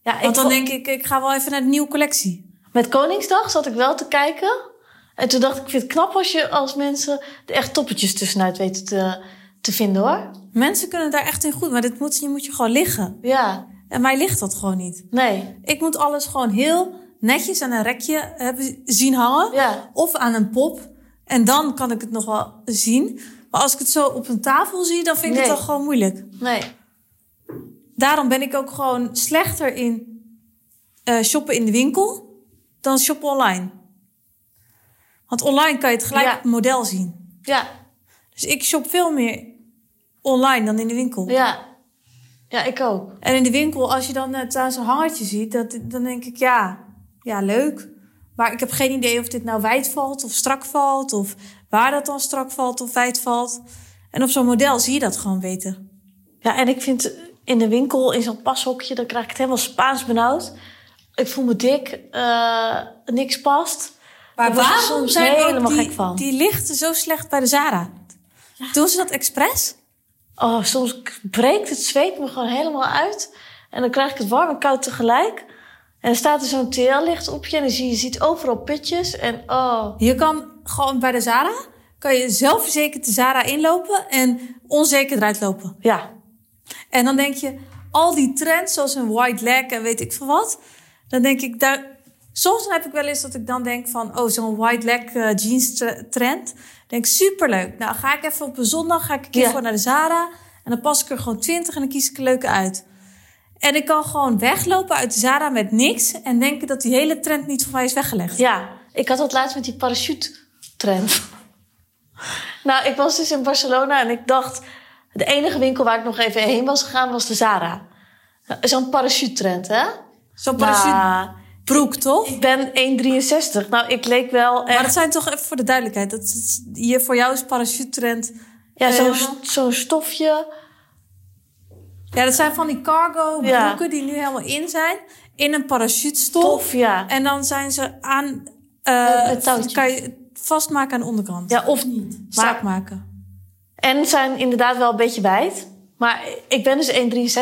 Ja, ik Want dan vo- denk ik, ik ga wel even naar de nieuwe collectie. Met Koningsdag zat ik wel te kijken. En toen dacht ik, ik vind het knap als, je, als mensen er echt toppetjes tussenuit weten te, te vinden hoor. Mensen kunnen daar echt in goed, maar dit moet, je moet je gewoon liggen. Ja, En mij ligt dat gewoon niet. nee. Ik moet alles gewoon heel netjes aan een rekje hebben zien hangen. Ja. Of aan een pop. En dan kan ik het nog wel zien. Maar als ik het zo op een tafel zie, dan vind ik Nee. het al gewoon moeilijk. Nee. Daarom ben ik ook gewoon slechter in eh, shoppen in de winkel dan shoppen online. Want online kan je het gelijk Ja. op het model zien. Ja, Dus ik shop veel meer online dan in de winkel. ja. Ja, ik ook. En in de winkel, als je dan het aan zo'n hangertje ziet, dat, dan denk ik, ja, ja, leuk. Maar ik heb geen idee of dit nou wijd valt of strak valt. Of waar dat dan strak valt of wijd valt. En op zo'n model zie je dat gewoon beter. Ja, en ik vind in de winkel, in zo'n pashokje, dan krijg ik het helemaal Spaans benauwd. Ik voel me dik, eh, niks past. Maar Daar word ik waarom soms zijn ook helemaal die, gek van? die lichten zo slecht bij de Zara? Doen ze dat expres? Oh, soms k- breekt het zweet me gewoon helemaal uit. En dan krijg ik het warm en koud tegelijk. En dan staat er zo'n TL-licht op je en dan zie je ziet overal putjes. En oh, Je kan gewoon bij de Zara, kan je zelfverzekerd de Zara inlopen en onzeker eruit lopen. ja. En dan denk je, al die trends zoals een white leg en weet ik veel wat. Dan denk ik, daar, soms heb ik wel eens dat ik dan denk van, oh, zo'n white leg eh, jeans tre- trend. Denk superleuk. Nou, ga ik even op een zondag, ga ik een keer Ja. gewoon naar de Zara. En dan pas ik er gewoon twintig en dan kies ik er leuke uit. En ik kan gewoon weglopen uit de Zara met niks. En denken dat die hele trend niet voor mij is weggelegd. Ja, ik had dat laatst met die parachute-trend. nou, ik was dus in Barcelona en ik dacht... De enige winkel waar ik nog even heen was gegaan was de Zara. Zo'n parachute-trend, hè? Zo'n parachutebroek, Nou, toch? ik ben 1,63. Nou, ik leek wel Maar echt... dat zijn toch even voor de duidelijkheid. Dat, dat- hier voor jou is parachute trend Ja, zo'n Helemaal. zo'n stofje. Ja, dat zijn van die cargo Ja. broeken die nu helemaal in zijn. In een parachutestof. Tof, ja. En dan zijn ze aan... eh, Met touwtjes. Kan je het vastmaken aan de onderkant. Ja, of niet. Maar- Strak maken. En zijn inderdaad wel een beetje wijd. Maar ik ben dus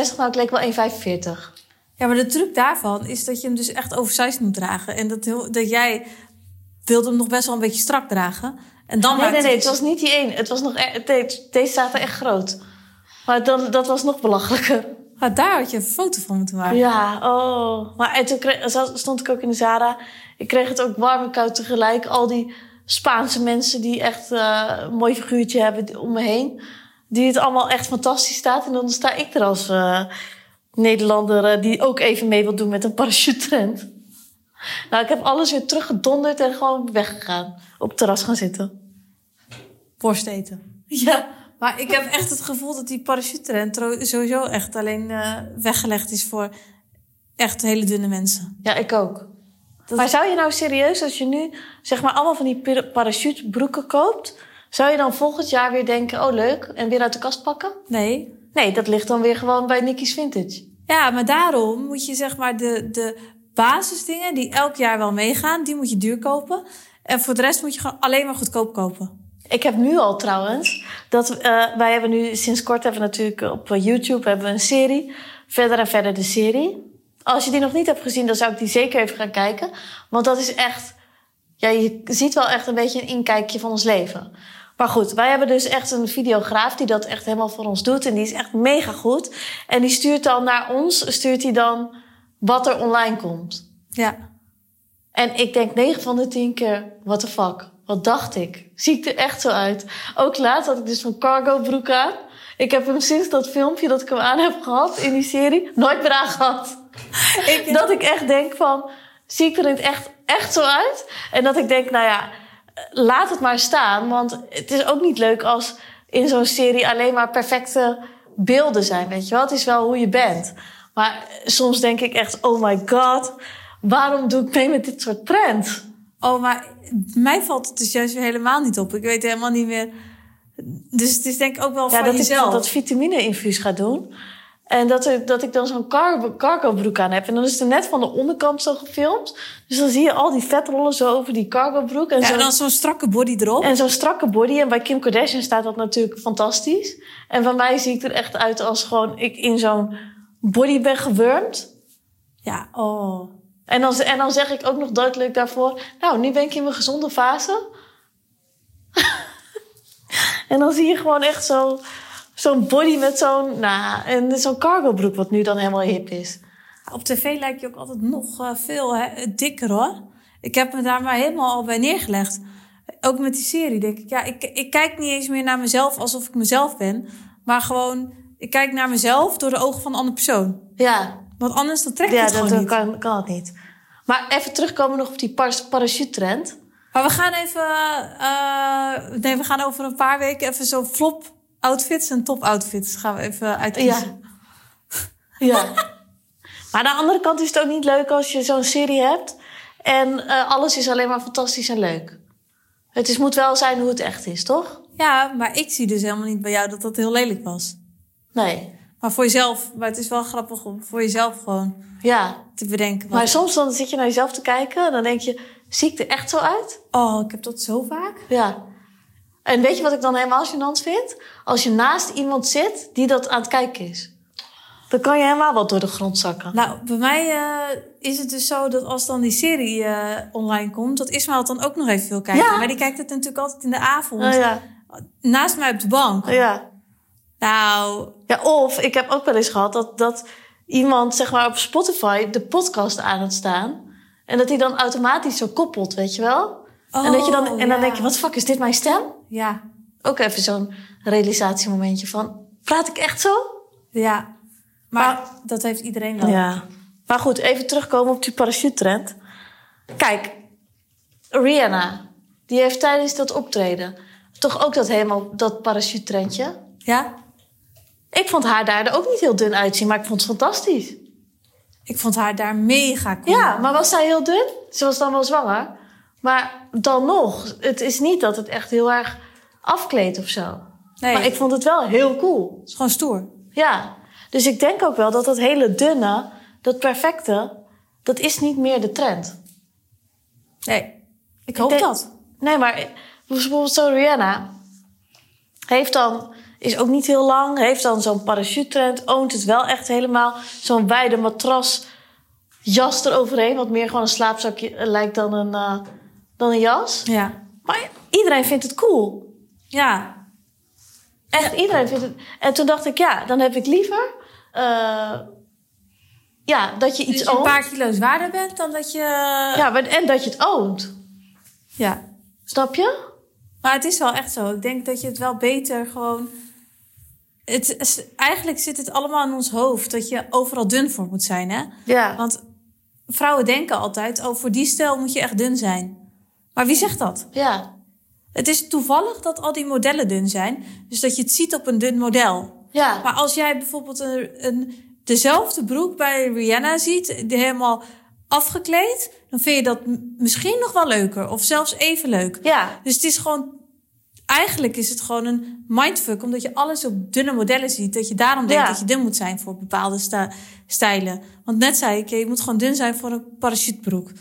1,63, nou ik leek wel 1,45. Ja, maar de truc daarvan is dat je hem dus echt oversized moet dragen. En dat, heel, dat jij wilde hem nog best wel een beetje strak dragen. En dan Nee, maakt nee, nee, het- dus- het was niet die één. Het was nog, e- de- deze zaten echt groot. Maar dan, dat was nog belachelijker. Maar daar had je een foto van moeten maken. Ja, oh. Maar en toen kreeg- zat- stond ik ook in de Zara. Ik kreeg het ook warm en koud tegelijk. Al die Spaanse mensen die echt eh, een mooi figuurtje hebben die- om me heen. Die het allemaal echt fantastisch staat. En dan sta ik er als eh, Nederlander eh, die ook even mee wil doen met een parachute-trend. Nou, ik heb alles weer teruggedonderd en gewoon weggegaan. Op het terras gaan zitten. Borst eten. Ja. Maar ik heb echt het gevoel dat die parachute sowieso echt alleen eh, weggelegd is voor echt hele dunne mensen. Ja, ik ook. Maar zou je nou serieus, als je nu zeg maar allemaal van die pir- parachutebroeken koopt, zou je dan volgend jaar weer denken, oh leuk, en weer uit de kast pakken? Nee. Nee, dat ligt dan weer gewoon bij Nicky's Vintage. Ja, maar daarom moet je zeg maar de, de basisdingen die elk jaar wel meegaan, die moet je duur kopen. En voor de rest moet je gewoon alleen maar goedkoop kopen. Ik heb nu al trouwens, dat eh, wij hebben nu sinds kort hebben we natuurlijk op eh, YouTube hebben we een serie, verder en verder de serie. Als je die nog niet hebt gezien, dan zou ik die zeker even gaan kijken, want dat is echt Ja, je ziet wel echt een beetje een inkijkje van ons leven. Maar goed, wij hebben dus echt een videograaf die dat echt helemaal voor ons doet. En die is echt mega goed. En die stuurt dan naar ons, stuurt hij dan wat er online komt. Ja. En ik denk 9 van de 10 keer, what the fuck, wat dacht ik? Zie ik er echt zo uit? Ook laatst had ik dus van cargo broek aan. Ik heb hem sinds dat filmpje dat ik hem aan heb gehad in die serie nooit meer aangehad. Ik, Dat ik echt denk van, zie ik er in het echt, echt zo uit? En dat ik denk, nou ja, eh, laat het maar staan. Want het is ook niet leuk als in zo'n serie alleen maar perfecte beelden zijn, weet je wel. Het is wel hoe je bent. Maar eh, soms denk ik echt, oh my god, waarom doe ik mee met dit soort trend? oh, maar mij valt het dus juist weer helemaal niet op. Ik weet helemaal niet meer. Dus het is denk ik ook wel Ja, van dat jezelf. ik dat vitamine-infuus ga doen. En dat, er, dat ik dan zo'n cargo, cargo broek aan heb. En dan is het net van de onderkant zo gefilmd. Dus dan zie je al die vetrollen zo over die cargo broek. En ja, zo en dan zo'n strakke body erop. En zo'n strakke body. En bij Kim Kardashian staat dat natuurlijk fantastisch. En van mij zie ik er echt uit als gewoon ik in zo'n body ben gewurmd. Ja, oh. En dan, en dan zeg ik ook nog duidelijk daarvoor... Nou, nu ben ik in mijn gezonde fase. en dan zie je gewoon echt zo, zo'n body met zo'n... Nou, en zo'n cargo broek wat nu dan helemaal hip is. Op tv lijkt je ook altijd nog eh, veel hè, dikker hoor. Ik heb me daar maar helemaal al bij neergelegd. Ook met die serie denk ik. Ja, ik, ik kijk niet eens meer naar mezelf alsof ik mezelf ben. Maar gewoon, ik kijk naar mezelf door de ogen van een andere persoon. Ja, Want anders dan trek je ja het gewoon dat niet. kan, kan het niet. Maar even terugkomen nog op die par- parachute-trend. Maar we gaan even... eh, nee, we gaan over een paar weken even zo flop outfits en top outfits gaan we even uitkiezen. Ja. Ja. maar aan de andere kant is het ook niet leuk als je zo'n serie hebt en eh, alles is alleen maar fantastisch en leuk. Het is, moet wel zijn hoe het echt is, toch? ja, maar ik zie dus helemaal niet bij jou dat dat heel lelijk was. Nee. Maar voor jezelf, maar het is wel grappig om voor jezelf gewoon Ja. te bedenken. wat- Maar soms dan zit je naar jezelf te kijken en dan denk je, zie ik er echt zo uit? Oh, ik heb dat zo vaak. Ja. En weet je wat ik dan helemaal gênant vind? Als je naast iemand zit die dat aan het kijken is. Dan kan je helemaal wat door de grond zakken. Nou, bij mij eh, is het dus zo dat als dan die serie eh, online komt, dat Ismael het dan ook nog even wil kijken. Ja. Maar die kijkt het natuurlijk altijd in de avond. Oh ja. Naast mij op de bank. Oh ja. Nou, Ja, of ik heb ook wel eens gehad dat, dat iemand zeg maar op Spotify de podcast aan het staan. En dat hij dan automatisch zo koppelt, weet je wel? Oh, en dat je dan, en dan ja. denk je, wat fuck, is dit mijn stem? ja. Ook even zo'n realisatiemomentje van, praat ik echt zo? Ja. Maar, dat heeft iedereen wel. Ah. Ja. Maar goed, even terugkomen op die parachute-trend. Kijk, Rihanna, die heeft tijdens dat optreden toch ook dat helemaal, dat parachute-trendje. Ja? Ik vond haar daar ook niet heel dun uitzien, maar ik vond het fantastisch. Ik vond haar daar mega cool. Ja, maar was zij heel dun? Ze was dan wel zwanger. Maar dan nog, het is niet dat het echt heel erg afkleedt of zo. Nee, Maar ik vond het wel heel cool. het is gewoon stoer. Ja. Dus ik denk ook wel dat dat hele dunne, dat perfecte, dat is niet meer de trend. Nee, ik hoop denk- dat. Nee, maar bijvoorbeeld zo Rihanna heeft dan is ook niet heel lang, heeft dan zo'n parachute trend, oont het wel echt helemaal, zo'n wijde matras jas eroverheen, wat meer gewoon een slaapzakje eh, lijkt dan een eh, dan een jas. Ja. Maar iedereen vindt het cool. Ja. Echt iedereen vindt het. En toen dacht ik, ja, dan heb ik liever eh, ja dat je Iets iets je een oont. paar kilo zwaarder bent dan dat je... Ja. Ja, maar- en dat je het oont. Snap je? Maar het is wel echt zo. Ik denk dat je het wel beter gewoon... Het is, eigenlijk zit het allemaal in ons hoofd. Dat je overal dun voor moet zijn, hè? Ja. Want vrouwen denken altijd... Oh, voor die stijl moet je echt dun zijn. Maar wie zegt dat? Ja. Het is toevallig dat al die modellen dun zijn. Dus dat je het ziet op een dun model. Ja. Maar als jij bijvoorbeeld een, een, dezelfde broek bij Rihanna ziet, die helemaal afgekleed, dan vind je dat m- misschien nog wel leuker. Of zelfs even leuk. Ja. Dus het is gewoon. Eigenlijk is het gewoon een mindfuck, omdat je alles op dunne modellen ziet. Dat je daarom denkt Ja. dat je dun moet zijn voor bepaalde sta- stijlen. Want net zei ik, je moet gewoon dun zijn voor een parachutebroek.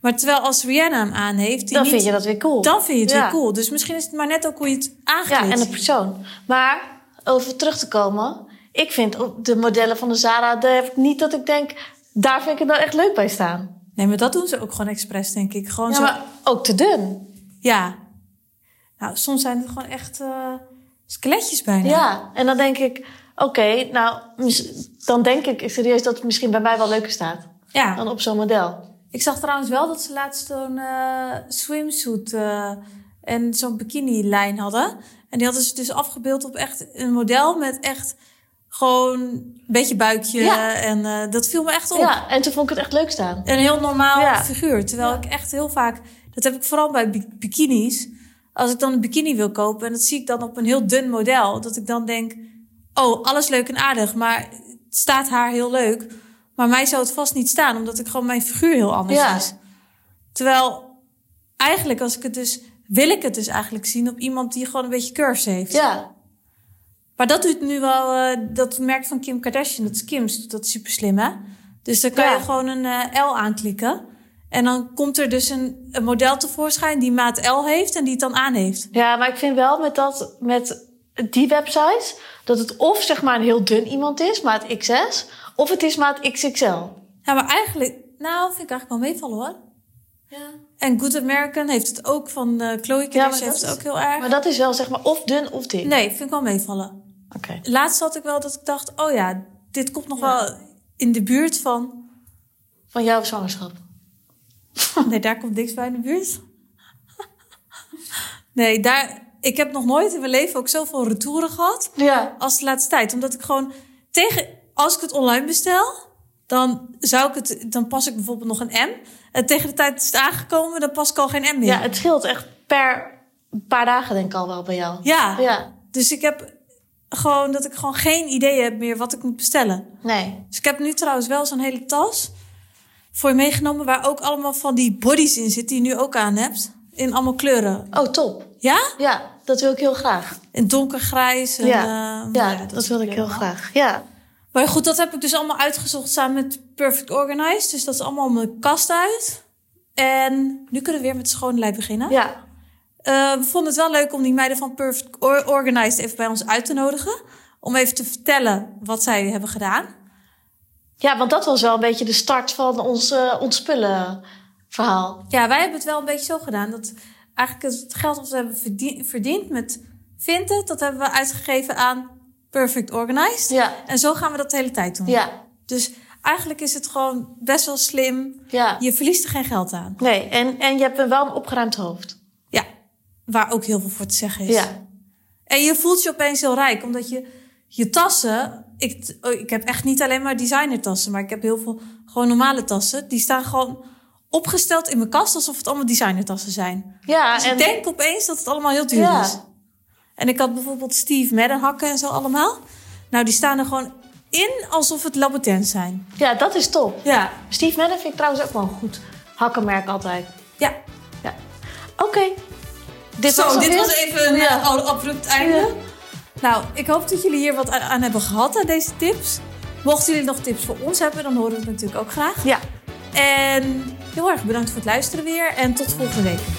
Maar terwijl als Rihanna hem aan heeft, die Dan niet- vind je dat weer cool. dan vind je het Ja. weer cool. Dus misschien is het maar net ook hoe je het Ja, aangeeft. en de persoon. Maar over terug te komen. Ik vind op de modellen van de Zara, daar heb ik niet dat ik denk, daar vind ik het nou echt leuk bij staan. Nee, maar dat doen ze ook gewoon expres, denk ik. Gewoon Ja, zo. maar ook te dun. Ja. Nou, soms zijn het gewoon echt eh, skeletjes bijna. Ja, en dan denk ik, oké, nou, mis- dan denk ik serieus dat het misschien bij mij wel leuker staat Ja. dan op zo'n model. Ik zag trouwens wel dat ze laatst zo'n eh, swimsuit eh, en zo'n bikini-lijn hadden. En die hadden ze dus afgebeeld op echt een model met echt gewoon een beetje buikje. Ja. En eh, dat viel me echt op. Ja, en toen vond ik het echt leuk staan. een heel normaal Ja. figuur. Terwijl ik echt heel vaak, dat heb ik vooral bij bi- bikinis. Als ik dan een bikini wil kopen en dat zie ik dan op een heel dun model, dat ik dan denk: oh, alles leuk en aardig, maar het staat haar heel leuk. Maar mij zou het vast niet staan, omdat ik gewoon mijn figuur heel anders Ja. is. Terwijl eigenlijk, als ik het dus, wil ik het dus eigenlijk zien op iemand die gewoon een beetje curves heeft. Ja, Maar dat doet nu wel eh, dat merk van Kim Kardashian, dat is Kim's, doet dat super slim hè. Dus dan kan Ja. je gewoon een eh, L aanklikken. En dan komt er dus een, een model tevoorschijn die maat L heeft en die het dan aan heeft. ja maar ik vind wel met, dat, met die websites dat het of zeg maar een heel dun iemand is, maat XS, of het is maat XXL. Ja, maar eigenlijk, nou vind ik eigenlijk wel meevallen hoor. Ja. En Good American heeft het ook van eh Chloe Ja, maar Kardashian heeft dat het ook is- heel erg. Maar dat is wel zeg maar of dun of dik. Nee, vind ik wel meevallen. Oké. Laatst had ik wel dat ik dacht, oh ja, dit komt nog Ja. wel in de buurt van... Van jouw zwangerschap. Nee, daar komt niks bij in de buurt. Nee, daar, ik heb nog nooit in mijn leven ook zoveel retouren gehad Ja. als de laatste tijd. Omdat ik gewoon tegen, als ik het online bestel, dan zou ik het, dan pas ik bijvoorbeeld nog een M. En tegen de tijd is het aangekomen, dan pas ik al geen M meer. Ja, het scheelt echt per paar dagen denk ik al wel bij jou. Ja. Ja. Dus ik heb gewoon dat ik gewoon geen idee heb meer wat ik moet bestellen. Nee. Dus ik heb nu trouwens wel zo'n hele tas voor je meegenomen waar ook allemaal van die bodies in zitten die je nu ook aan hebt. In allemaal kleuren. Oh, top. Ja? Ja, dat wil ik heel graag. In donkergrijs. En, ja. eh, ja, nou dat, is wil ik heel helemaal. graag. Ja. Maar goed, dat heb ik dus allemaal uitgezocht samen met Perfect Organized. Dus dat is allemaal mijn kast uit. En nu kunnen we weer met schoonlijp beginnen. Ja. Eh, we vonden het wel leuk om die meiden van Perfect Or- Organized even bij ons uit te nodigen. Om even te vertellen wat zij hebben gedaan. ja, want dat was wel een beetje de start van ons eh ontspullen verhaal. Ja, wij hebben het wel een beetje zo gedaan. Dat eigenlijk het geld dat we hebben verdien- verdiend met Vinted, dat hebben we uitgegeven aan Perfect Organized. Ja. En zo gaan we dat de hele tijd doen. Ja. Dus eigenlijk is het gewoon best wel slim. Ja. Je verliest er geen geld aan. Nee, en, en je hebt wel een opgeruimd hoofd. Ja, waar ook heel veel voor te zeggen is. Ja. En je voelt je opeens heel rijk, omdat je je tassen. Ik, oh, ik heb echt niet alleen maar designertassen, maar ik heb heel veel gewoon normale tassen. Die staan gewoon opgesteld in mijn kast alsof het allemaal designertassen zijn. Ja, Dus en ik denk opeens dat het allemaal heel duur Ja. is. En ik had bijvoorbeeld Steve Madden hakken en zo allemaal. Nou, die staan er gewoon in alsof het labotens zijn. ja, dat is top. Ja, Steve Madden vind ik trouwens ook wel een goed hakkenmerk altijd. ja. Ja. Oké. Dit zo, dit alweer. was even een Ja. eh, abrupt einde. Nou, ik hoop dat jullie hier wat aan- aan hebben gehad aan deze tips. Mochten jullie nog tips voor ons hebben, dan horen we het natuurlijk ook graag. Ja. En heel erg bedankt voor het luisteren weer en tot volgende week.